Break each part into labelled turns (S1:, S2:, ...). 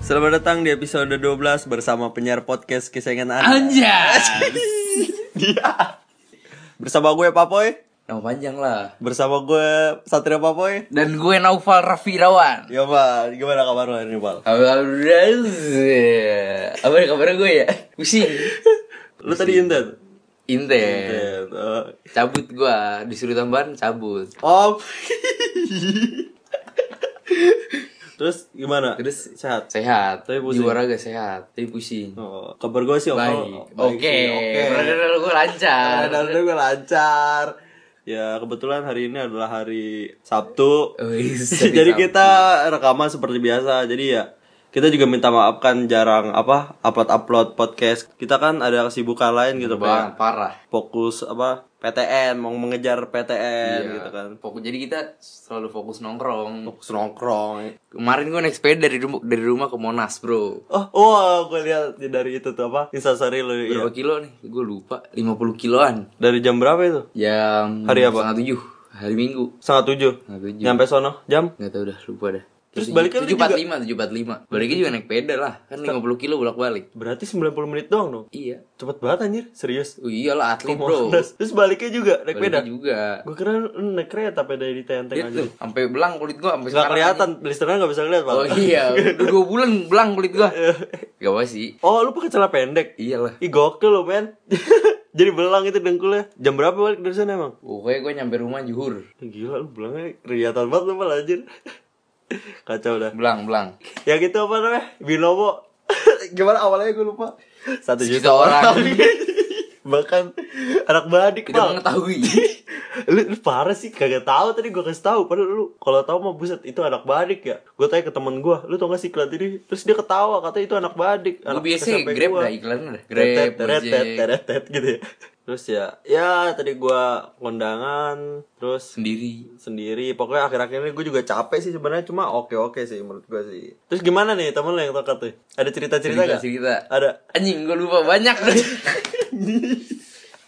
S1: Selamat datang di episode 12 bersama penyiar podcast kesayangan Anda.
S2: Anjay.
S1: Bersama gue Papoy,
S2: Nama panjang lah.
S1: bersama gue Satria Papoy.
S2: Dan gue Naufal Rafirawan.
S1: Ya, Pak, gimana kabar lo hari ini, Pak?
S2: Apa kabar gue ya? Pusing.
S1: Lu tadi intent.
S2: Inten.
S1: Intent, eh.
S2: Cabut gue. Disuruh tambahan cabut.
S1: Om. Terus gimana?
S2: Terus-
S1: sehat.
S2: Sehat.
S1: Tapi pusing.
S2: Jiwa raga sehat. Tapi pusing.
S1: Oh, kabar gue sih
S2: Baik.
S1: Om. Oh,
S2: Oke. Peradaban gue lancar.
S1: Peradaban gue lancar. Ya, kebetulan hari ini adalah hari Sabtu.
S2: Wis,
S1: jadi
S2: bisa.
S1: kita rekaman seperti biasa jadi ya kita juga minta maaf kan jarang apa upload upload podcast kita kan ada kesibukan lain gitu pak
S2: Bang, parah.
S1: fokus apa PTN mau mengejar PTN
S2: Iya.
S1: gitu kan
S2: Fokus- jadi kita selalu fokus nongkrong.
S1: fokus nongkrong
S2: Kemarin gue naik sepeda dari rumah, dari rumah ke Monas, Bro.
S1: oh wah gue lihat dari itu tuh apa instastory lu iya.
S2: Berapa kilo nih? Gue lupa. 50 kiloan.
S1: dari jam berapa itu
S2: Jam
S1: Hari apa?
S2: Setengah tujuh Hari Minggu
S1: setengah tujuh
S2: Setengah tujuh
S1: nyampe sono jam
S2: Gak tau dah lupa dah
S1: Terus baliknya lu
S2: tujuh empat lima tujuh empat lima baliknya juga naik peda lah kan lima puluh kilo bolak balik
S1: berarti 90 menit doang dong
S2: iya
S1: cepet banget anjir serius
S2: oh, iyalah atlet bro
S1: Terus- terus baliknya juga naik peda
S2: baliknya juga
S1: gue kira lu naik kereta peda di TNT aja
S2: tuh sampai belang kulit gua sampai
S1: Gak
S2: sekarang
S1: kelihatan, listener gak bisa lihat, Pak.
S2: oh iya udah dua bulan belang kulit gua gak apa sih
S1: Oh, lu pakai celana pendek.
S2: iyalah
S1: Ih, gokil lu, men. Jadi belang itu dengkulnya. Jam berapa balik dari sana emang?
S2: pokoknya gua nyampe rumah juhur
S1: Ih, Gila lu belangnya kelihatan banget lu malah anjir. Kacau dah.
S2: belang belang
S1: Yang itu apa namanya? Binomo. Gimana awalnya gue lupa. Satu juta
S2: Sejuta
S1: orang.
S2: orang.
S1: Bahkan anak badik,
S2: tidak
S1: Pak.
S2: mengetahui
S1: lu, lu parah sih kagak tahu tadi gua kasih tahu padahal lu kalau tahu mah buset itu anak badik ya gua tanya ke temen gua lu tau gak sih iklan ini terus dia ketawa katanya itu anak badik
S2: gua
S1: anak
S2: biasa
S1: SMP
S2: grab
S1: gua.
S2: dah iklannya dah grab
S1: Tetet, tetet,
S2: gojek
S1: tetet, tetet, gitu ya terus ya ya tadi gua kondangan terus
S2: sendiri
S1: sendiri pokoknya akhir-akhir ini gue juga capek sih sebenarnya cuma oke oke sih menurut gua sih terus gimana nih temen lo yang tokat tuh ada cerita cerita
S2: cerita
S1: gak
S2: cerita
S1: ada
S2: Anjing gue lupa banyak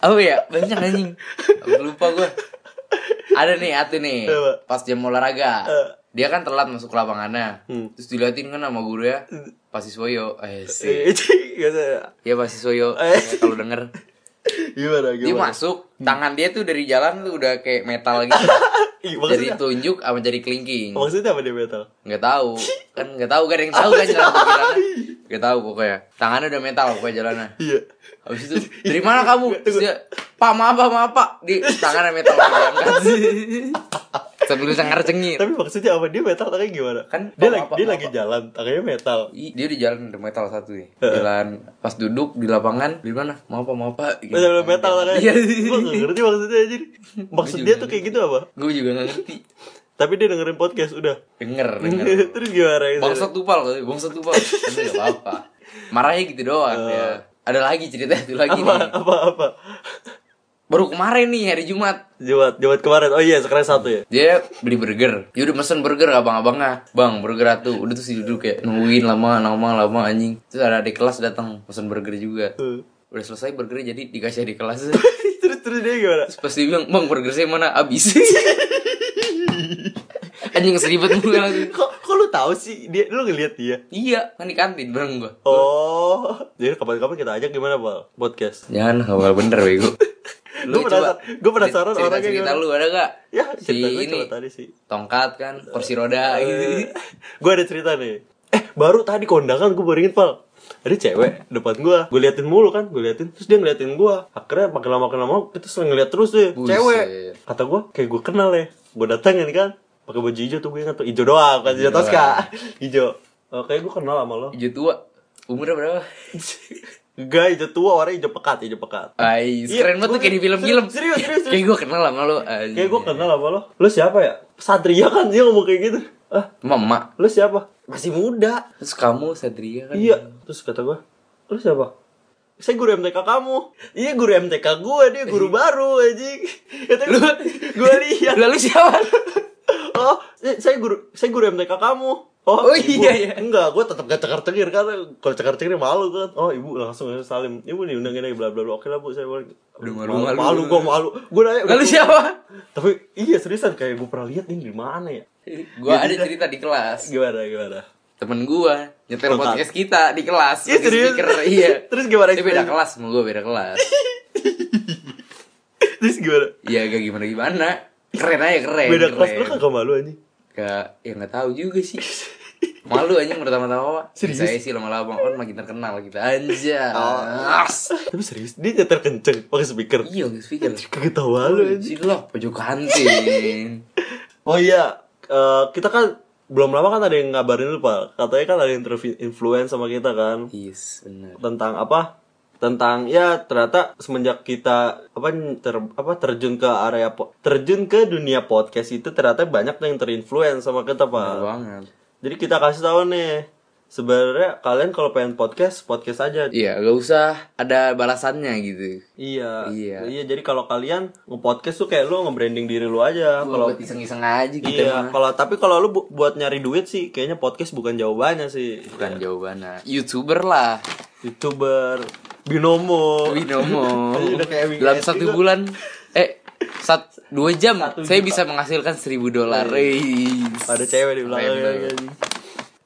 S2: Apa ya? Banyak anjing Aku Lupa gue Ada nih Atu nih
S1: Apa?
S2: Pas jam olahraga
S1: Eh.
S2: Dia kan telat masuk ke lapangannya
S1: Hmm.
S2: Terus diliatin kan sama guru ya Pasti Soyo Eh sih
S1: Gitu ya.
S2: Ya Pasti Soyo
S1: Eh.
S2: Ya, Kalau denger
S1: gimana
S2: Dia
S1: gimana
S2: masuk Tangan dia tuh dari jalan tuh udah kayak metal gitu
S1: Ih,
S2: Dari
S1: maksudnya, Oh.
S2: telunjuk sama dari kelingking
S1: maksudnya apa dia metal
S2: Gak tahu Kan gak tahu gak ada yang tahu kan jalan pikirannya Gak tahu pokoknya Tangannya udah metal pokoknya jalannya
S1: iya
S2: Habis itu, dari mana kamu? Terus dia, pak maaf pak maaf pak Di tangannya metal diangkat Sambil bisa ngercengin
S1: Tapi maksudnya apa dia metal tangannya gimana?
S2: Iya. Kan,
S1: dia
S2: apa,
S1: lagi
S2: apa,
S1: dia
S2: apa. Iya,
S1: lagi jalan tangannya metal.
S2: Ih, Dia di jalan ada metal satu nih Jalan pas duduk di lapangan Di mana? Maaf pak maaf pak Gitu.
S1: Metal metal tangannya.
S2: Iya.
S1: Gua nggak ngerti maksudnya anjir. Maksud dia tuh kayak gitu apa?
S2: Gue juga gak ngerti
S1: Tapi dia dengerin podcast udah.
S2: Denger denger
S1: Terus gimana gitu?
S2: Bangsa tupal kali Bangsa tupal Tapi gak apa-apa Marahnya gitu doang ya Ada lagi cerita itu
S1: Apa
S2: lagi nih
S1: apa apa?
S2: Baru kemarin nih hari Jumat
S1: Jumat Jumat kemarin. Oh iya sekarang satu ya.
S2: dia beli burger dia udah mesen burger abang-abangnya bang burger satu udah tuh si duduk kayak nungguin lama lama lama anjing terus ada adik kelas datang pesen burger juga
S1: Tuh.
S2: udah selesai burgernya jadi dikasih adik kelas
S1: terus terus dia gimana?
S2: terus pas dia bilang bang burger saya mana abis anjing seribet gue langsung
S1: Kok kok lu tahu sih dia lu ngeliat dia?
S2: iya kan di kantin bareng gue
S1: Oh, jadi kapan-kapan kita ajak gimana, Bal? Podcast.
S2: jangan nggak bakal bener bego
S1: Gua penasaran- gua penasaran
S2: cerita,
S1: orangnya
S2: cerita
S1: gimana.
S2: lu ada gak
S1: Ya,
S2: si
S1: cerita gue
S2: ini
S1: cuma tadi sih. Eh.
S2: tongkat kan kursi roda gitu
S1: gue ada cerita nih eh baru tadi kondangan gue baru inget pal ada cewek depan gue gue liatin mulu kan gue liatin terus dia ngeliatin gue akhirnya makin lama makin lama kita sering ngeliat terus deh
S2: Buset.
S1: cewek kata gue kayak gue kenal ya gue datengin kan pakai baju hijau tuh gue inget tuh hijau doang kan hijau toska hijau Eh, kayak gue kenal sama lo
S2: hijau tua umurnya berapa
S1: Gak hijau tua orang hijau pekat hijau pekat
S2: Ais,
S1: Iya,
S2: keren banget tuh
S1: gua-
S2: kayak di film-film.
S1: serius, serius, serius.
S2: Kayak gue kenal sama lo.
S1: kayak gue kenal sama lo lo siapa ya satria kan dia ngomong kayak gitu ah
S2: Mama.
S1: lo siapa masih muda
S2: Terus kamu Satria kan?
S1: Iya, terus kata gua, "Lu siapa?" Saya guru MTK kamu. Iya, guru MTK gua dia guru baru anjing. Itu gua, gua lihat.
S2: Lalu siapa?
S1: Oh, saya saya guru saya guru MTK kamu. Oh,
S2: Oh,
S1: ibu.
S2: iya, iya.
S1: Enggak, gua tetap gak cekar-cekir karena kalau cekar-cekir malu kan. Oh, ibu langsung salim. Ibu nih undangin aja bla bla bla. Oke lah, Bu, saya boleh.
S2: Udah malu, malu.
S1: malu, gua malu. Gua nanya,
S2: Lalu
S1: gua-
S2: siapa?
S1: Tapi iya seriusan kayak gua pernah lihat ini di mana ya?
S2: Gue ada cerita di kelas.
S1: Gimana gimana?
S2: temen gua nyetel
S1: Tongkat.
S2: podcast kita di kelas
S1: Iya,
S2: pakai
S1: serius?
S2: speaker iya
S1: Terus gimana
S2: dia beda
S1: experience?
S2: kelas sama gua beda kelas
S1: Terus gimana?
S2: iya gak gimana gimana keren aja keren
S1: Beda
S2: keren.
S1: kelas lu kan? kagak malu anjing.
S2: Gak, ya gak tahu juga sih Malu anjing pertama-tama
S1: Serius? Oh.
S2: Saya sih lama-lama kan makin terkenal kita Anjas
S1: Tapi serius, dia nyetel kenceng pakai speaker.
S2: Iya gak speaker
S1: Kagak tahu malu anjing.
S2: Si lo pojok kantin
S1: Iya. Oh iya, eh, kita kan belum lama kan ada yang ngabarin lu, Pak. Katanya kan ada yang terinfluence sama kita kan.
S2: Yes bener
S1: Tentang apa? Tentang ya ternyata semenjak kita apa ter- apa terjun ke area po- terjun ke dunia podcast itu ternyata banyak yang terinfluence sama kita,
S2: Bener
S1: Pak.
S2: banget
S1: Jadi kita kasih tahu nih. Sebenarnya kalian kalau pengen podcast, podcast aja.
S2: Iya gak usah ada balasannya gitu
S1: Iya.
S2: Iya.
S1: jadi kalau kalian nge-podcast tuh kayak lu nge-branding diri lu aja. Kalau
S2: Kalau iseng-iseng aja kita
S1: Iya,
S2: mah
S1: kalau tapi kalau lu bu- buat nyari duit sih kayaknya podcast bukan jawabannya sih.
S2: Bukan jawabannya Youtuber lah
S1: YouTuber binomo. Ini
S2: Binomo
S1: Iya, udah kayak
S2: Dalam
S1: WS
S2: satu
S1: juga.
S2: bulan Eh sat, dua jam
S1: Satu juta.
S2: saya
S1: Iya.
S2: bisa menghasilkan seribu dolar.
S1: Ada cewek di belakangnya. kan.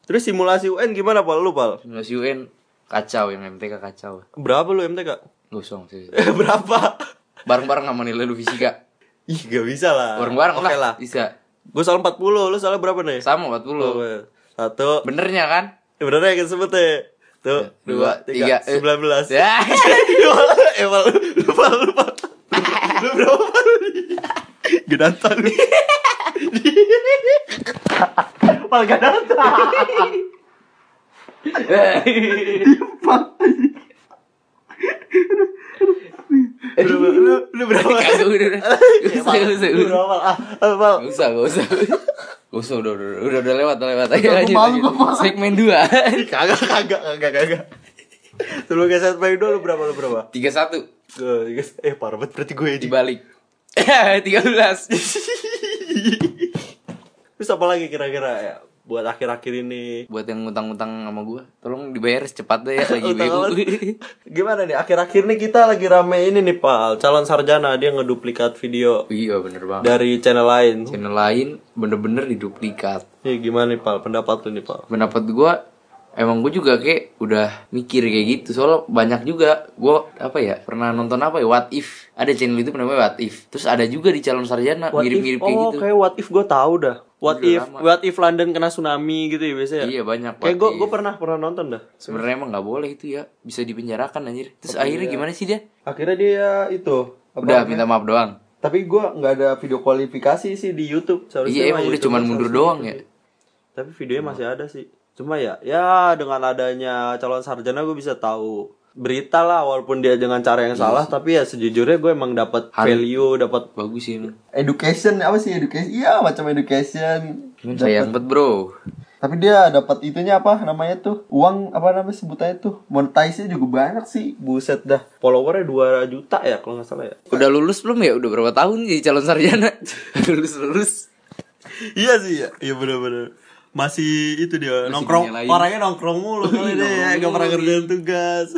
S1: Terus simulasi UN gimana pal lu pal?
S2: Mas UN kacau yang MTK kacau.
S1: Berapa lu MTK?
S2: Gosong sih.
S1: Berapa?
S2: Bareng-bareng sama nilai lu fisika.
S1: Ih, gak bisa lah.
S2: Bareng-bareng
S1: Ah, Oke
S2: lah.
S1: lah.
S2: Bisa.
S1: Gue soal 40, lu soalnya berapa nih?
S2: Sama 40.
S1: Oke. Satu.
S2: Benernya kan?
S1: Bener ya kita sebut ya. Tuh, dua, tiga,
S2: eh.
S1: sembilan belas.
S2: Ya.
S1: Eh, Pal, lu Pal, lu Pal. Lu berapa Pal? Genanta lu. Pal Genanta. Berapa lu? Lu berapa?
S2: Kagak udah. udah. Gak usah, gak usah.
S1: Lu berapa Pal? Ah, ah, Pal.
S2: Gak usah, gak usah. Gak usah, udah, udah, udah, udah lewat, udah lewat. Ayo, lanjut,
S1: malu,
S2: lanjut.
S1: gua malu.
S2: Segmen 2
S1: Kagak, kagak, kagak, kagak. Sebelum geser main dua, lu berapa lu berapa?
S2: 31
S1: Gua- Eh, parah banget berarti gue di.
S2: dibalik 13
S1: Terus apa lagi kira-kira ya? Buat akhir-akhir ini
S2: Buat yang ngutang-ngutang sama gua Tolong dibayar secepatnya ya Lagi
S1: Utang
S2: BU
S1: amat. Gimana nih akhir-akhir nih kita lagi rame ini nih Pal Calon sarjana dia ngeduplikat video
S2: Iya bener banget
S1: dari channel lain
S2: channel lain bener-bener diduplikat
S1: Nih gimana nih Pal pendapat lu nih Pal
S2: pendapat gua emang gua juga kayak udah mikir kayak gitu soalnya banyak juga gua apa ya pernah nonton apa ya what if ada channel itu namanya what if terus ada juga di calon sarjana
S1: What
S2: mirip-mirip
S1: if,
S2: kayak
S1: oh
S2: gitu
S1: kayak what if gue tahu dah What
S2: Udah
S1: if
S2: lama.
S1: what if London kena tsunami gitu ya biasanya
S2: iya banyak
S1: Kayak
S2: what
S1: gue
S2: if.
S1: gue pernah pernah nonton dah
S2: sebenarnya emang nggak boleh itu ya bisa dipenjarakan anjir terus akhirnya gimana sih dia
S1: Akhirnya dia itu iya. apa
S2: udah
S1: namanya?
S2: minta maaf doang
S1: Tapi gue nggak ada video kualifikasi sih di YouTube Seharusnya
S2: iya
S1: mah
S2: emang udah
S1: YouTube kan.
S2: cuman
S1: harus-
S2: mundur doang
S1: gitu.
S2: ya
S1: Tapi videonya masih ada sih. Cuma ya, ya dengan adanya calon sarjana gue bisa tahu berita lah walaupun dia dengan cara yang salah tapi ya sejujurnya gue emang dapat value dapat
S2: bagus sih emang
S1: education apa sih education iya macam education
S2: Cuman sayang banget bro
S1: tapi dia dapat itunya apa namanya tuh uang apa namanya sebutannya tuh monetize juga banyak sih buset dah followernya 2 juta ya kalau nggak salah ya
S2: udah lulus belum ya udah berapa tahun jadi calon sarjana lulus lulus
S1: iya sih ya iya benar-benar masih itu dia nongkrong
S2: dinyalain.
S1: orangnya nongkrong mulu kali deh ya nggak pernah kerjaan tugas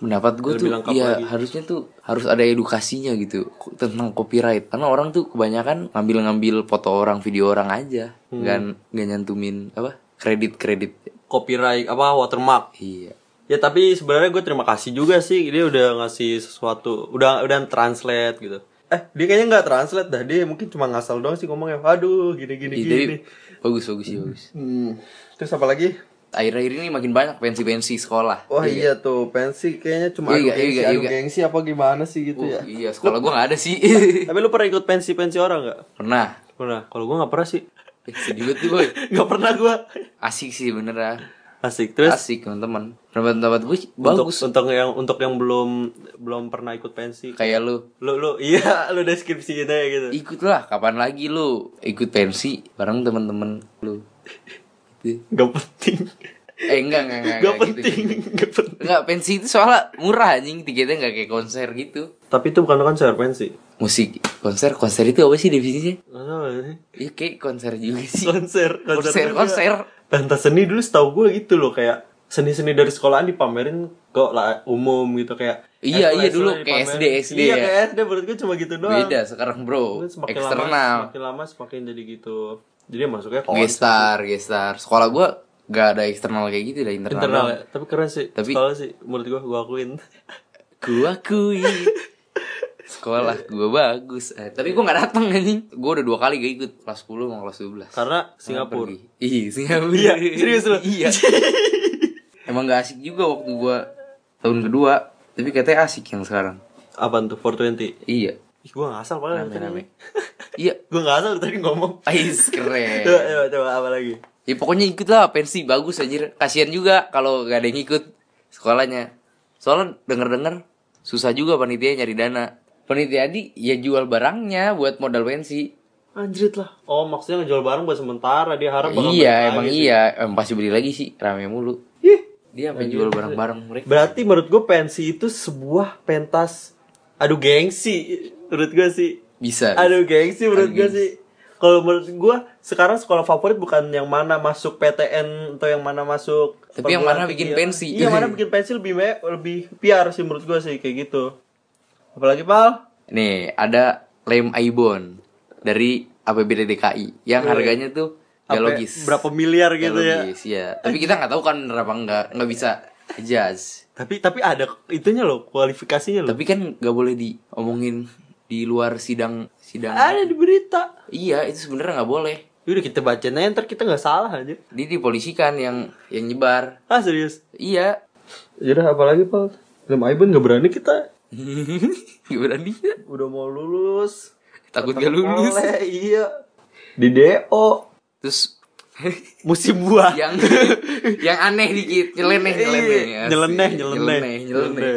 S2: pendapat gue tuh
S1: Lebih lengkap
S2: ya
S1: lagi.
S2: harusnya tuh harus ada edukasinya gitu ko- tentang copyright karena orang tuh kebanyakan ngambil-ngambil foto orang video orang aja
S1: Hmm.
S2: nggak nggak nyantumin apa kredit kredit
S1: copyright apa watermark
S2: iya
S1: ya tapi sebenarnya gue terima kasih juga sih dia udah ngasih sesuatu udah udah translate gitu eh dia kayaknya nggak translate dah dia mungkin cuma ngasal doang sih ngomongnya aduh gini gini
S2: Iya,
S1: gini
S2: tapi bagus bagus sih bagus
S1: Hmm, terus apa lagi
S2: akhir-akhir ini makin banyak pensi-pensi sekolah
S1: wah iya tuh pensi kayaknya cuma adu
S2: Iya, iya,
S1: gengsi
S2: iya,
S1: adu
S2: iya.
S1: gengsi apa gimana sih gitu ya
S2: iya sekolah gue nggak ada sih
S1: tapi lu pernah ikut pensi pensi orang nggak
S2: pernah
S1: pernah kalau gue nggak pernah sih
S2: Eh, sedih banget tuh boy
S1: nggak pernah gue
S2: asik sih bener ya
S1: asik terus
S2: asik teman-teman pendapat-pendapat gue
S1: untuk
S2: bagus
S1: untuk yang untuk yang belum belum pernah ikut pensi
S2: kayak lu
S1: lu lu iya lu deskripsi gitu ya gitu
S2: ikutlah kapan lagi lu ikut pensi bareng temen-temen lu gitu.
S1: nggak penting
S2: eh enggak enggak enggak,
S1: Gak
S2: enggak gitu.
S1: penting, gak penting.
S2: enggak pensi itu soalnya murah anjing tiketnya enggak kayak konser gitu
S1: Tapi itu bukan konser pensi.
S2: musik konser konser itu apa sih definisinya
S1: Gak tau gak sih?
S2: ya kayak konser juga sih
S1: Konser,
S2: konser
S1: juga.
S2: konser
S1: Pentas seni dulu setahu gue gitu loh kayak seni-seni dari sekolahan dipamerin ke la- umum gitu kayak
S2: Iya, iya,
S1: les-les
S2: dulu
S1: dipamerin.
S2: kayak SD, SD
S1: iya,
S2: ya.
S1: kayak SD menurut gue cuma gitu doang
S2: beda sekarang bro
S1: Mungkin semakin lama
S2: eksternal
S1: semakin lama semakin jadi gitu jadi ya masuknya konser
S2: gestar gestar sekolah gua nggak ada eksternal kayak gitu dah internal,
S1: internal ya. tapi keren sih
S2: Tapi-
S1: sekolah sih menurut gua gua akuin
S2: gua akui sekolah gua bagus eh, tapi gua nggak datang anjing gua udah dua kali gak ikut kelas 10 sama kelas 12
S1: karena Singapura
S2: Pergi. Iya, Singapura.
S1: Iya, serius lu?
S2: Iya. Emang gak asik juga waktu gua tahun kedua, tapi katanya asik yang sekarang.
S1: apa tuh 420
S2: Iya.
S1: Ih, gua nggak asal malah tadi.
S2: Rame-rame. Iya.
S1: gua nggak asal tadi ngomong
S2: Ais
S1: coba,
S2: keren.
S1: coba coba apa lagi
S2: Ya pokoknya ikut lah pensi bagus anjir. Kasihan juga kalau gak ada yang ikut sekolahnya. Soalnya denger-denger susah juga panitia nyari dana. Panitia di ya jual barangnya buat modal pensi.
S1: Anjrit lah. Oh, maksudnya ngejual barang buat sementara dia harap bakal balik
S2: Iya, emang
S1: lagi.
S2: iya. Em, pasti beli lagi sih, rame mulu.
S1: Ih,
S2: Dia sampai jual barang-barang mereka.
S1: Berarti menurut gue pensi itu sebuah pentas aduh gengsi menurut gue sih.
S2: Bisa.
S1: Aduh gengsi menurut gue sih. Kalau menurut gue sekarang sekolah favorit bukan yang mana masuk PTN atau yang mana masuk
S2: Tapi yang
S1: perguruan
S2: mana bikin
S1: tinggi.
S2: pensi.
S1: Iya, yang mana bikin pensi lebih me- lebih PR sih menurut gue sih kayak gitu. Apalagi Pal?
S2: Nih, ada lem Aibon dari APBD DKI yang harganya tuh gak
S1: Iya. Sampai
S2: logis.
S1: Berapa miliar gitu
S2: Gak
S1: ya.
S2: logis, ya. Tapi kita nggak tahu kan bener apa enggak, nggak bisa jazz.
S1: Tapi tapi ada itunya loh, kualifikasinya loh.
S2: Tapi kan nggak boleh diomongin di luar sidang sidang.
S1: Ada di berita.
S2: Iya, itu sebenarnya nggak boleh.
S1: Yaudah Ya kita bacain aja ntar kita nggak salah aja.
S2: Dia dipolisikan yang yang nyebar.
S1: Ah serius.
S2: Iya.
S1: Yaudah apalagi Pal? Lem Aibon nggak berani kita.
S2: Gak berani
S1: Udah mau lulus.
S2: Takut gak lulus
S1: Oleh, iya. Di DO.
S2: Terus
S1: Musim buah.
S2: yang yang aneh dikit Nyeleneh nyeleneh
S1: Iya,
S2: asik.
S1: nyeleneh, nyeleneh,
S2: Nyeleneh nyeleneh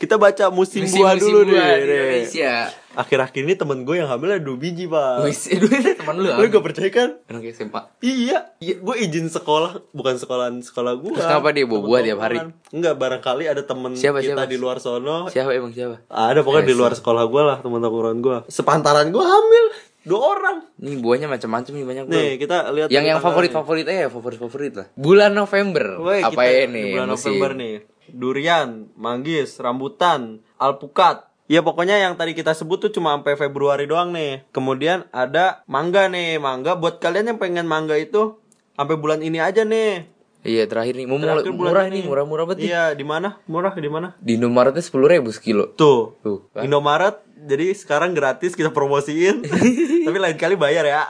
S1: Kita baca musim,
S2: Musim-
S1: buah
S2: musim
S1: dulu
S2: buah
S1: deh.
S2: di
S1: deh.
S2: Indonesia.
S1: Akhir-akhir ini temen gue yang hamilnya dua biji, Pak.
S2: Wis, aduh, teman lu. ya?
S1: Lo gak percaya kan?
S2: Anak SMA.
S1: Iya, iya. gue izin sekolah, bukan sekolahan sekolah gue.
S2: Terus kenapa dia bawa buah tiap hari?
S1: Enggak, barangkali ada temen
S2: Siapa,
S1: kita
S2: siapa? Iya
S1: di luar sono
S2: Siapa emang siapa?
S1: Ada pokoknya di luar sekolah gue lah teman tongkrongan gue. Sepantaran gue hamil dua orang.
S2: Ini buahnya macam-macam nih banyak banget.
S1: Nih kita lihat
S2: Yang yang
S1: tanggalnya.
S2: favorit-favorit eh favorit-favorit lah. Bulan November.
S1: Woi,
S2: apa
S1: kita
S2: ya ini?
S1: Di bulan
S2: musim?
S1: November nih. Durian, manggis, rambutan, alpukat. Ya pokoknya yang tadi kita sebut tuh cuma sampai Februari doang nih. Kemudian ada mangga nih, mangga buat kalian yang pengen mangga itu sampai bulan ini aja nih.
S2: Iya, terakhir nih. Mau mulai
S1: Terakhir bulan
S2: murah
S1: ini.
S2: nih, murah-murah banget. nih.
S1: Iya, di mana? Murah di mana?
S2: Di Indomaretnya 10.000 sekilo.
S1: Tuh.
S2: Tuh.
S1: Indomaret jadi sekarang gratis kita promosiin. Tapi lain kali bayar ya.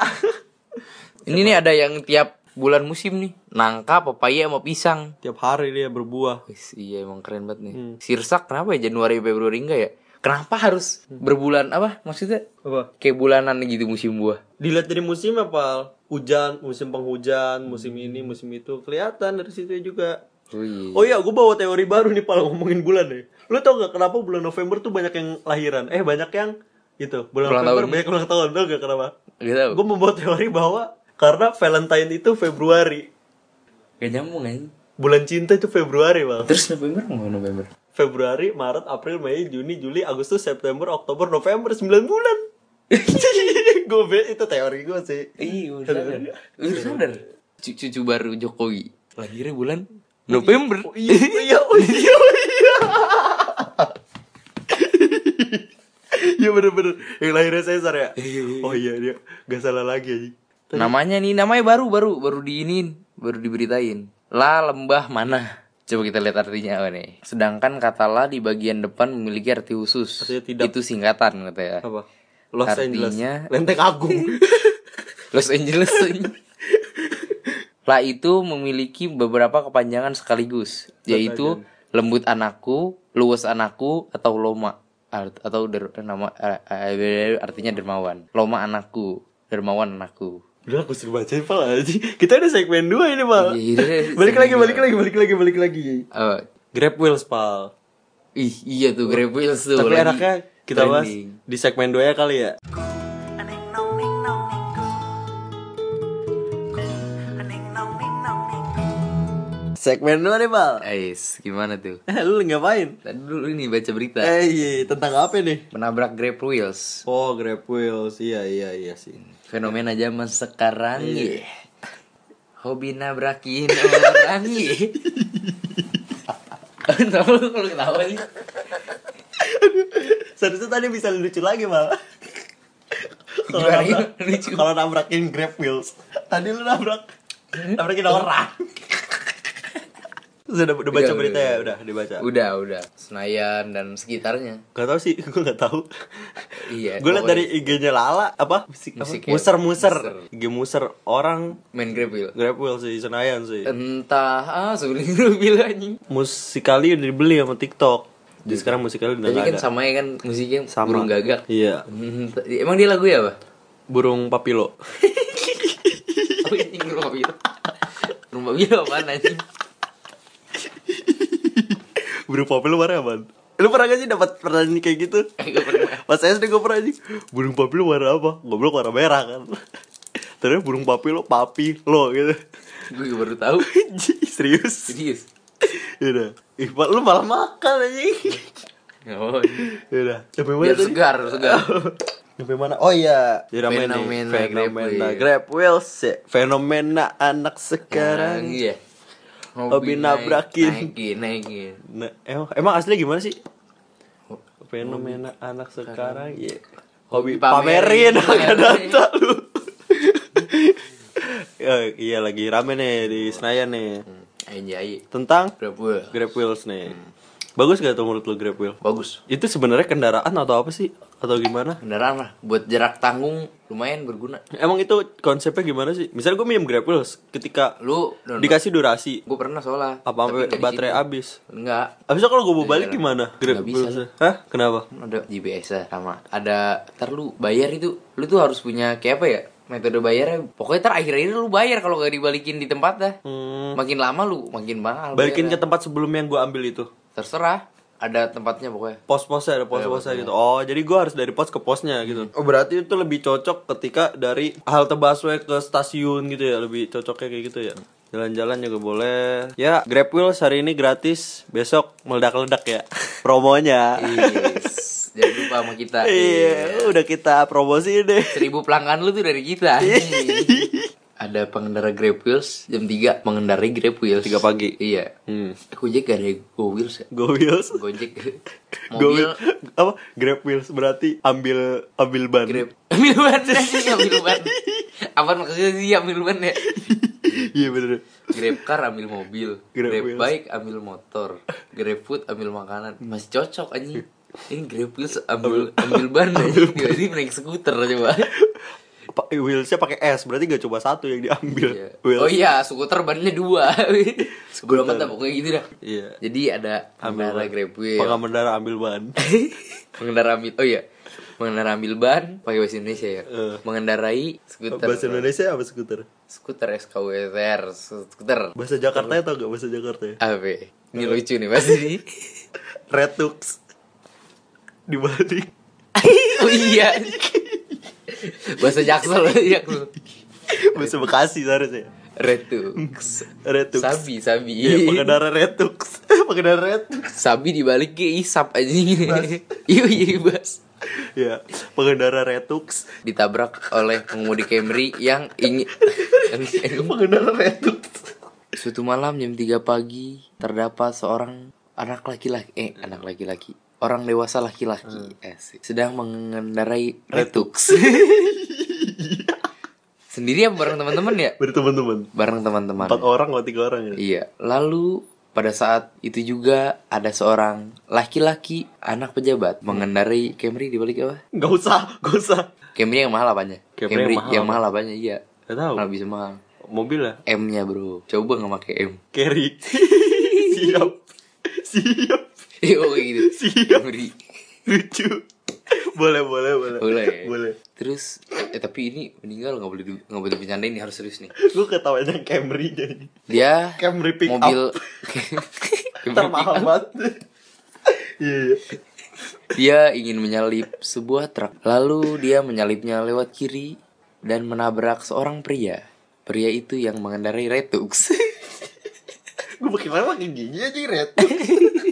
S2: Ini nih ada yang tiap bulan musim nih. Nangka, pepaya sama pisang.
S1: Tiap hari dia berbuah.
S2: Wis, iya emang keren banget nih.
S1: Hmm.
S2: Sirsak kenapa ya Januari Februari enggak ya? Kenapa harus
S1: Hmm.
S2: berbulan apa maksudnya?
S1: Apa?
S2: Kayak bulanan gitu musim buah.
S1: Dilihat dari musim apa? Hujan, musim penghujan, musim ini, musim itu kelihatan dari situ ya juga.
S2: Oh iya.
S1: Oh iya, gue bawa teori baru nih pal ngomongin bulan deh. Lu tau gak kenapa bulan November tuh banyak yang lahiran? Eh banyak yang itu bulan
S2: Ulang
S1: November
S2: tahun.
S1: banyak ulang tahun tau gak kenapa?
S2: Gak tau.
S1: Gue membawa teori bahwa karena Valentine itu Februari,
S2: Gak nyambung kan?
S1: bulan cinta itu Februari pal.
S2: Terus November mau November?
S1: Februari, Maret, April, Mei, Juni, Juli, Agustus, September, Oktober, November 9 bulan. gue itu teori gue sih.
S2: Iya, udah sadar. Udah sadar. Cucu baru Jokowi. Lahirnya bulan November.
S1: Oh, iya, oh, iya, oh, iya, oh, iya. Iya bener-bener Yang lahirnya Caesar ya Oh iya dia Gak salah lagi aja
S2: Namanya nih, namanya baru baru baru diinin, baru diberitain. La lembah mana? Coba kita lihat artinya apa nih. Sedangkan kata la di bagian depan memiliki arti khusus.
S1: Artinya tidak.
S2: Itu singkatan katanya.
S1: Apa? Los
S2: Artinya-
S1: Angeles Lenteng Agung
S2: Los Angeles. La itu memiliki beberapa kepanjangan sekaligus, yaitu lembut anakku, luwes anakku, atau loma Art- atau der- nama eh, eh, artinya dermawan. Loma anakku, dermawan anakku.
S1: Udah aku suruh bacain pal aja Kita ada segmen 2 ini pal
S2: Iya,
S1: Balik lagi,
S2: segmen
S1: balik lagi, balik lagi, balik lagi
S2: Eh,
S1: Grab Wheels pal
S2: ih iya tuh Grab Wheels tuh.
S1: Tapi
S2: lagi
S1: enaknya kita bahas
S2: trending.
S1: di segmen 2 ya kali ya
S3: Aning nong ning nong ning ku. Aning nong ning nong ning ku.
S1: Segmen 2 nih pal
S2: Ais, gimana tuh?
S1: Eh lu ngapain?
S2: Tadi dulu ini baca berita.
S1: Eh iya, tentang apa nih?
S2: Menabrak Grab Wheels.
S1: Oh Grab Wheels, iya iya iya sih
S2: Fenomena zaman sekarang
S1: Iya.
S2: ya. Hobi nabrakin orang ya. Kenapa lu kalau ketawa iya. sih?
S1: Seharusnya tadi bisa lucu lagi mal Kalau
S2: Gimana
S1: nabrak-
S2: ini? Lucu.
S1: Kalau nabrakin Grab Wheels Tadi lu nabrak Nabrakin orang Sudah udah baca
S2: Udah,
S1: berita
S2: udah,
S1: ya,
S2: udah.
S1: udah dibaca.
S2: Udah, udah. Senayan dan sekitarnya.
S1: Gak tau sih, gue gak tahu.
S2: Iya,
S1: Gue liat
S2: pokoknya-
S1: dari IG-nya Lala apa? Musik, apa?
S2: Musik ya.
S1: Muser muser.
S2: Muser.
S1: IG muser orang
S2: Main Grab Wheel.
S1: Grab Wheel sih Senayan sih.
S2: Entah, ah sebelum Grab Wheel anjing.
S1: Musikali udah dibeli sama TikTok. Jadi sekarang musikali udah
S2: Tapi
S1: gak
S2: kan
S1: ada.
S2: sama ya kan musiknya
S1: Sama.
S2: burung gagak.
S1: Iya.
S2: Entah- Emang dia lagu ya, Bah?
S1: Burung papilo.
S2: Apa ini rumah Wheel? Rumah Wheel apaan anjing?
S1: Burung papilo warna apa? Lu pernah gak sih dapat pertanyaan kayak gitu? Pas SD gue pernah anjing Burung papilo warna apa? Goblok warna merah kan Terus burung papilo, papi, lo gitu
S2: Gue baru tahu.
S1: Anjing, Serius?
S2: Serius.
S1: Yaudah Ya Ih, Pak, lu malah makan anjing
S2: Oh,
S1: Yaudah Sampai mana
S2: biar
S1: tadi?
S2: segar, segar.
S1: Sampai mana? Oh iya Jadi ramai nih.
S2: Fenomena
S1: Fenomena
S2: Grab Wheels.
S1: Grab Wheels ya. Fenomena anak sekarang
S2: Nah, iya.
S1: Hobi nabrakin.
S2: Naikin, naikin.
S1: Nah, emang, emang aslinya gimana sih? Fenomena anak sekarang ya. Hobi
S2: Hobi
S1: pamerin
S2: pamerin.
S1: agak
S2: Pamerin.
S1: data lu. Ya, iya lagi rame nih di Senayan nih
S2: Hmm. Anjay.
S1: tentang
S2: Grab Wheel.
S1: Grab Wheels nih. Bagus gak tuh menurut lu Grab Wheel?
S2: Bagus.
S1: Itu sebenarnya kendaraan atau apa sih atau gimana?
S2: Kendaraan lah buat jarak tanggung lumayan berguna.
S1: Emang itu konsepnya gimana sih? Misalnya gue minjem Grab Wheels ketika
S2: Lu download.
S1: dikasih durasi
S2: Gue pernah soalnya.
S1: apa
S2: tapi nggak
S1: sampai
S2: di
S1: baterai
S2: situ.
S1: habis.
S2: Enggak.
S1: Abisnya kalau gue mau balik
S2: Iya.
S1: gimana? Grab
S2: Nggak bisa
S1: Wheels-nya. Hah? Kenapa?
S2: Kan Ada GPS -nya sama. Ada ntar lu bayar itu lu tuh harus punya kayak apa ya? Metode bayarnya pokoknya ntar akhir-akhir lu bayar kalau gak dibalikin di tempat dah. Makin lama lu makin mahal.
S1: Hmm. Balikin ke
S2: bayarnya.
S1: tempat sebelum yang gue ambil itu.
S2: terserah ada tempatnya pokoknya.
S1: Pos-posnya
S2: Iya,
S1: ada pos-posnya gitu. Oh, jadi gue harus dari pos ke posnya gitu.
S2: Hmm.
S1: Oh, berarti itu lebih cocok ketika dari halte busway ke stasiun gitu ya, lebih cocoknya kayak gitu ya. Jalan-jalan juga boleh. Ya, Grab Wheels hari ini gratis, besok meledak-ledak ya promonya.
S2: Iya. Yes. Jangan lupa sama kita.
S1: Iya, udah kita promosi deh.
S2: Seribu pelanggan lu tuh dari kita. ada pengendara Grab Wheels jam 3 mengendarai Grab Wheels.
S1: 3 pagi.
S2: Iya.
S1: Hmm.
S2: Gojek gak ada Go Wheels ya?
S1: Go Wheels.
S2: Gojek
S1: Go
S2: mobil
S1: Wheels. apa? Grab Wheels berarti ambil ambil ban.
S2: Grab. Ambil ban anjing, ambil ban. Apa maksudnya sih ambil ban ya?
S1: Iya bener.
S2: Grab car ambil mobil,
S1: Grab
S2: Grab,
S1: Wheels.
S2: bike ambil motor, Grab food ambil makanan. Masih cocok anjing. Ini Grab Wheels ambil ambil ban anjing. Jadi naik skuter coba.
S1: Pa- Wheelsnya pakai S berarti gak coba satu yang diambil.
S2: Iya.
S1: Wheels.
S2: Oh iya, skuter bannya dua. Belum entah pokoknya gitu dah.
S1: Iya.
S2: Jadi ada pengendara Grab Wheel.
S1: Pengendara ambil ban.
S2: Pengendara ambil oh iya. Pengendara ambil ban pakai bahasa Indonesia ya.
S1: Eh.
S2: Mengendarai skuter.
S1: Bahasa Indonesia apa skuter?
S2: Skuter SKWR, skuter.
S1: Bahasa Jakarta tau gak bahasa Jakarta ya?
S2: Apa? ya? Ini lucu nih pasti nih.
S1: Retux. Dibalik.
S2: oh iya. Bahasa Jaksel, Jaksel.
S1: Bahasa Bekasi seharusnya.
S2: Retux.
S1: Retux.
S2: Sabi, sabi.
S1: Iya, pengendara Retux. pengendara Retux.
S2: Sabi dibalik ke isap aja Iya, iya, bas.
S1: Iya, pengendara Retux.
S2: ditabrak oleh pengemudi Camry yang ingin
S1: pengendara Retux.
S2: suatu malam jam 3 pagi terdapat seorang anak laki-laki eh anak laki-laki orang dewasa
S1: Hmm.
S2: laki-laki asik, sedang mengendarai Retux sendiri apa bareng teman-teman ya
S1: Berteman-teman.
S2: bareng teman-teman
S1: Empat orang atau tiga orang ya?
S2: iya lalu pada saat itu juga ada seorang laki-laki anak pejabat
S1: Hmm.
S2: mengendarai Camry di balik apa
S1: Gak usah, gak usah.
S2: Camry yang mahal apanya
S1: Camry yang mahal
S2: yang mahal apanya iya
S1: Gak tahu.
S2: Kenapa bisa mahal
S1: Mobil ya?
S2: M-nya bro. Coba nggak pakai M.
S1: Carry. Siap. Siap.
S2: Iya oke gitu.
S1: Siap.
S2: Beri.
S1: Lucu. Boleh, boleh, boleh.
S2: Boleh.
S1: Boleh.
S2: Terus eh tapi ini meninggal nggak boleh di, nggak boleh bercanda ini harus serius nih.
S1: Gue ketawanya Camry jadi.
S2: Dia
S1: Camry pick
S2: mobil
S1: up. Ntar mahal banget. Iya. iya.
S2: dia ingin menyalip sebuah truk. Lalu dia menyalipnya lewat kiri dan menabrak seorang pria. Pria itu yang mengendarai Retux.
S1: Gue bagaimana makin gigi aja Red.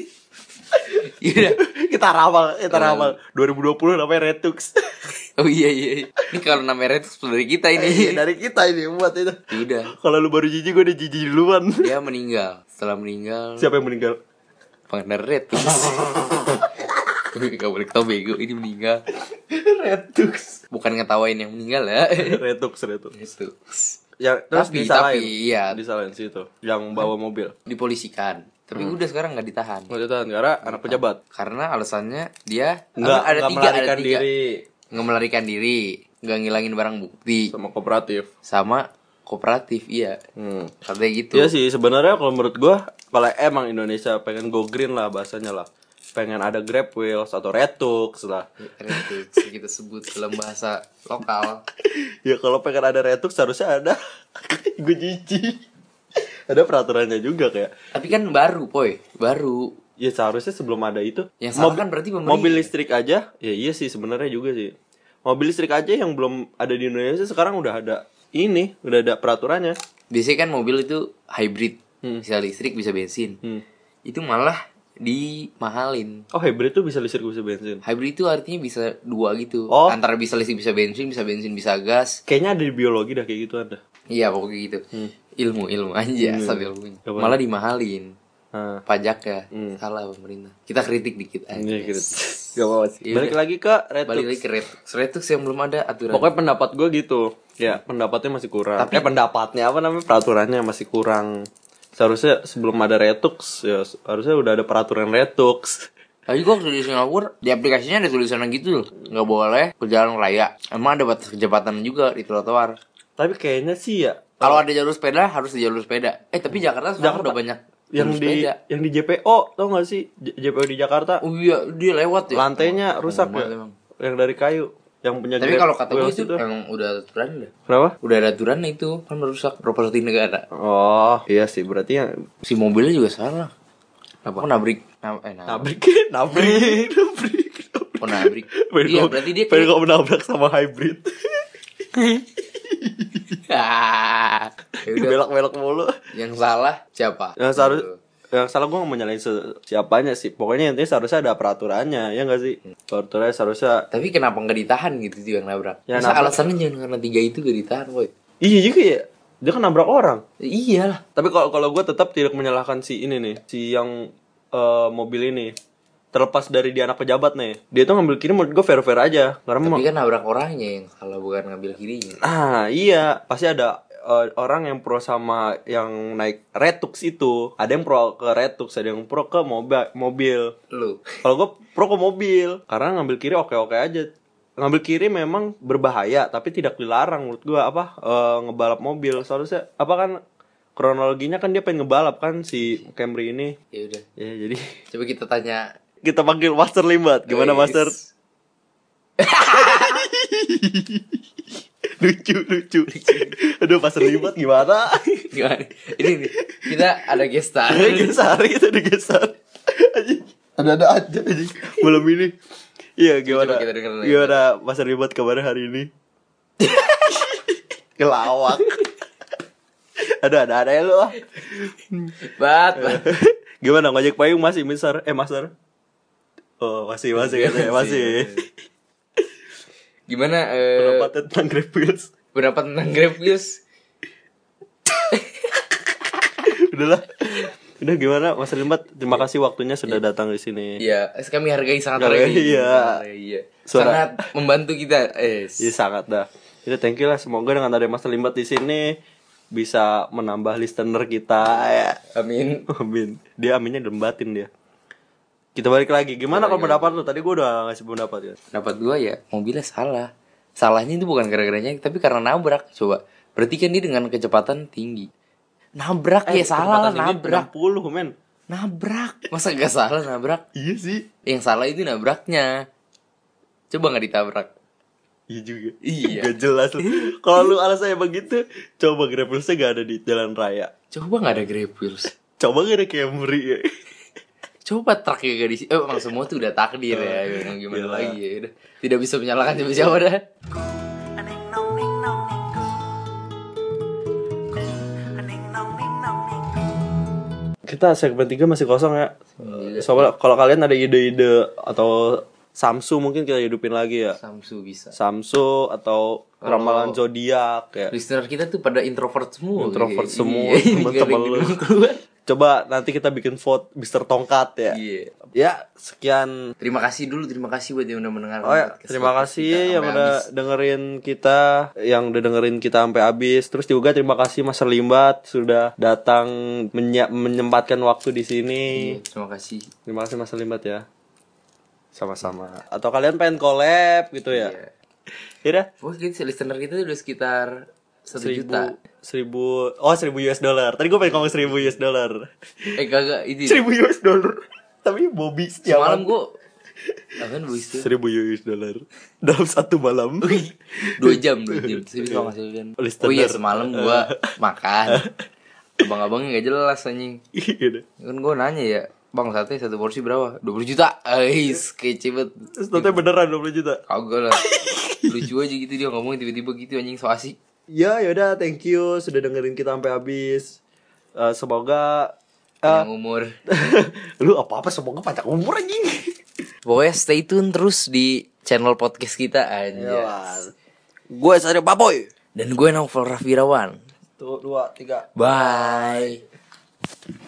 S2: Iya.
S1: kita ramal, kita ramal. 2020 namanya Retux.
S2: oh iya iya. iya. Ini kalau namanya Retux dari kita
S1: Iya,
S2: ini.
S1: dari kita ini buat itu.
S2: Udah.
S1: Kalau lu baru jijik gue udah jijik duluan.
S2: Dia meninggal. Setelah meninggal
S1: Siapa yang meninggal?
S2: pengendara Retux Gak boleh ketawa bego ini meninggal
S1: Retux.
S2: Bukan ngetawain yang meninggal ya Gitu.
S1: Retux, Retux.
S2: Retux
S1: Ya, terus
S2: Tapi-
S1: disalahin.
S2: tapi, iya.
S1: Disalahin situ. Yang bawa mobil.
S2: dipolisikan tapi udah sekarang nggak ditahan
S1: Nggak ditahan karena anak pejabat.
S2: karena alasannya dia
S1: Nggak,
S2: ada
S1: nggak
S2: tiga ada
S1: melarikan
S2: tiga
S1: diri
S2: nggak melarikan diri nggak ngilangin barang bukti
S1: sama kooperatif.
S2: sama kooperatif iya
S1: Hmm.
S2: katanya gitu
S1: Iya sih sebenarnya kalau menurut gua kalau emang Indonesia pengen go green lah bahasanya lah. Pengen ada Grab Wheels atau Retux lah.
S2: Keren tuh, bisa kita sebut dalam bahasa lokal
S1: ya kalau pengen ada Retux harusnya ada gue jijik. ada peraturannya juga kayak
S2: tapi kan baru poi baru
S1: Ya seharusnya sebelum ada itu.
S2: Yang salah
S1: Mob-
S2: kan berarti pemerintah.
S1: Mobil listrik aja. Ya iya sih sebenarnya juga sih. Mobil listrik aja yang belum ada di Indonesia sekarang udah ada ini, udah ada peraturannya.
S2: biasanya kan mobil itu hybrid bisa listrik bisa bensin
S1: Hmm.
S2: itu malah dimahalin
S1: Oh, hybrid tuh bisa listrik bisa bensin.
S2: hybrid itu artinya bisa dua gitu
S1: Oh.
S2: antara bisa listrik bisa bensin bisa bensin bisa gas
S1: Kayaknya ada di biologi dah kayak gitu ada.
S2: iya pokoknya gitu
S1: Hmm.
S2: ilmu ilmu aja asal ilmunya malah dimahalin
S1: Nah,
S2: pajaknya salah pemerintah kita kritik dikit aja
S1: ini gitu. Gak apa-apa sih.
S2: Iya,
S1: Balik lagi ke Retux.
S2: balik lagi ke retux retux yang belum ada aturan
S1: Pokoknya pendapat gue gitu. Ya, pendapatnya masih kurang. Tapi pendapatnya apa namanya? Peraturannya masih kurang. Seharusnya sebelum ada Retux, ya harusnya udah ada peraturan Retux.
S2: Tapi gua waktu di Singapura, di aplikasinya ada tulisan yang gitu loh. Nggak boleh ke jalan raya. Emang ada batas kecepatan juga di trotoar.
S1: Tapi kayaknya sih ya
S2: Kalau ada jalur sepeda, harus di jalur sepeda. Eh, tapi Jakarta sekarang udah banyak
S1: Hmm. yang
S2: jalur
S1: di
S2: sepeda.
S1: yang di JPO tau gak sih J- JPO di Jakarta
S2: Oh iya, dia lewat ya.
S1: lantainya rusak
S2: banget
S1: ya
S2: emang.
S1: yang dari kayu yang punya
S2: Tapi
S1: Grab
S2: kalau kata gue
S1: Wheels
S2: itu emang udah ada aturan dah.
S1: kenapa
S2: Udah ada aturan itu, kan merusak properti negara.
S1: oh iya sih berarti yang
S2: Si mobilnya juga salah. Apa? Kok nabrik? Nab- eh, nabrik.
S1: nabrik nabrik nabrik
S2: Kok nabrik?
S1: Pengen
S2: iya,
S1: gua-
S2: berarti dia
S1: pengen
S2: kayak...
S1: kok menabrak sama hybrid
S2: Ah, ya udah. Gitu.
S1: belok belok mulu
S2: Yang salah siapa?
S1: yang seharus yang salah gue mau nyalain se- siapanya sih pokoknya intinya seharusnya ada peraturannya ya gak sih
S2: Hmm.
S1: peraturannya seharusnya
S2: Tapi kenapa nggak ditahan gitu sih yang nabrak?
S1: Ya,
S2: Masa
S1: nabrak.
S2: alasannya jangan karena tiga itu gak ditahan, boy?
S1: iya juga ya dia kan nabrak orang
S2: Ya, iyalah.
S1: Tapi kalau kalau gue tetap tidak menyalahkan si ini nih, si yang eh, mobil ini terlepas dari dia anak pejabat nih. Dia tuh ngambil kiri menurut gue fair-fair aja. Karena
S2: Tapi
S1: mau-
S2: kan nabrak orangnya yang salah bukan ngambil kirinya.
S1: ah iya, pasti ada eh, orang yang pro sama yang naik Retux itu. Ada yang pro ke Retux, ada yang pro ke moba- mobil.
S2: Lu.
S1: Kalau gue pro ke mobil, karena ngambil kiri oke-oke aja. Ngambil kiri memang berbahaya, tapi tidak dilarang menurut gua apa eh, ngebalap mobil. Seharusnya apa kan kronologinya kan dia pengen ngebalap kan si Camry ini.
S2: Ya udah.
S1: Ya jadi
S2: Coba kita tanya.
S1: kita panggil Master Limbat. Gimana
S2: Wis.
S1: Master? Lucu, lucu. Aduh Master Limbat gimana?
S2: Gimana? Ini nih. Kita ada gestar.
S1: Ada geser, itu ada geser. Anjing. Ada-ada aja anjing. Malam ini. Iya, gimana?
S2: kita dengerin lagi.
S1: Gimana Master Limbat kabarnya hari ini? Kelawak. Aduh, ada-ada ya lu. ah.
S2: Bat.
S1: Iya.
S2: bat.
S1: Gimana ngojek payung masih Mister? Eh, Master. Oh, masih, masih,
S2: Iya,
S1: masih.
S2: Masih,
S1: masih.
S2: Gimana eh, pendapat,
S1: Pendapatnya tentang Grab Wheels.
S2: tentang Grab Wheels?
S1: udahlah udah gimana Mas Rimbat terima kasih waktunya sudah datang di sini
S2: Iya, kami hargai sangat
S1: Hargai,
S2: hargai.
S1: iya.
S2: Iya.
S1: Suara-
S2: Sangat membantu kita. Eh.
S1: Iya sangat dah itu thank you lah semoga dengan ada Mas Rimbat di sini bisa menambah listener kita ya
S2: Amin.
S1: amin dia aminnya dembatin dia kita balik lagi gimana kalau pendapat lu tadi gua udah ngasih pendapat ya
S2: Dapat gua ya mobilnya salah salahnya itu bukan gara-garanya tapi karena nabrak coba berarti kan dia dengan kecepatan tinggi nabrak
S1: Eh,
S2: ya salah lah nabrak
S1: 60 men
S2: nabrak masa gak salah nabrak
S1: iya sih
S2: yang salah itu nabraknya coba nggak ditabrak
S1: Iya juga
S2: Iya.
S1: Gak jelas lu. Kalau lu alasannya begitu Coba Grab Wheels-nya gak ada di jalan raya
S2: coba nggak ada grab wheels
S1: Coba gak ada Camry ya
S2: coba truk ya gadis eh emang semua tuh udah takdir ya emang gimana
S1: Iyalah.
S2: lagi ya udah. tidak bisa menyalahkan siapa-siapa dah
S3: Anh anh nong ninh nong ninh coo. Anh anh nong ninh nong ninh coo.
S1: kita segmen 3 masih kosong ya.
S2: Iya.
S1: Soalnya kalau kalian ada ide-ide atau Samsu mungkin kita hidupin lagi ya.
S2: Samsu bisa
S1: Samsu atau ramalan zodiak ya.
S2: listener kita tuh pada introvert semua
S1: Introvert
S2: Iya,
S1: semua,
S2: iya,
S1: teman-teman
S2: nggak ada
S1: lu.
S2: yang keluar.
S1: Coba nanti kita bikin vote Mister Tongkat ya.
S2: Iya.
S1: Ya, sekian.
S2: Terima kasih dulu, terima kasih buat yang udah mendengarkan.
S1: Oh ya,
S2: podcast
S1: terima
S2: kita
S1: kasih yang
S2: sampai
S1: udah
S2: habis.
S1: dengerin kita, yang udah dengerin kita sampai habis. Terus juga terima kasih Mas Limbat sudah datang menye- menyempatkan waktu di sini.
S2: Iya, Terima kasih.
S1: Terima kasih Mas Limbat ya. Sama-sama. Atau kalian pengen collab gitu ya?
S2: Iya.
S1: Yaudah.
S2: Wah, gitu, listener kita udah sekitar satu
S1: seribu
S2: juta.
S1: seribu oh seribu US dollar tadi gue pengen ngomong seribu US dollar
S2: Eh kagak ini.
S1: seribu US dollar tapi Bobby setiawan
S2: Semalam gua Apaan bu itu?
S1: seribu US dollar dalam satu malam
S2: Dua jam, dua jam. Terus habis makan sendirian.
S1: Listener.
S2: Oh iya semalam gua makan. Abang-abangnya gak jelas anjing.
S1: gitu
S2: Kan gua nanya ya, Bang sate satu porsi berapa? 20 juta. Ais, kece banget.
S1: terus
S2: Gitu.
S1: nanti beneran 20 juta
S2: Kagak lah. Lucu aja gitu dia ngomong tiba-tiba gitu anjing so asik.
S1: ya yaudah thank you sudah dengerin kita sampai habis Eh, semoga eh,
S2: Yang umur.
S1: lu apa apa semoga panjang umur anjing
S2: Pokoknya stay tune terus di channel podcast kita aja.
S1: gue sadar baboy
S2: Dan gue Novel Raffi Rawan.
S1: tuh dua tiga
S2: Bye.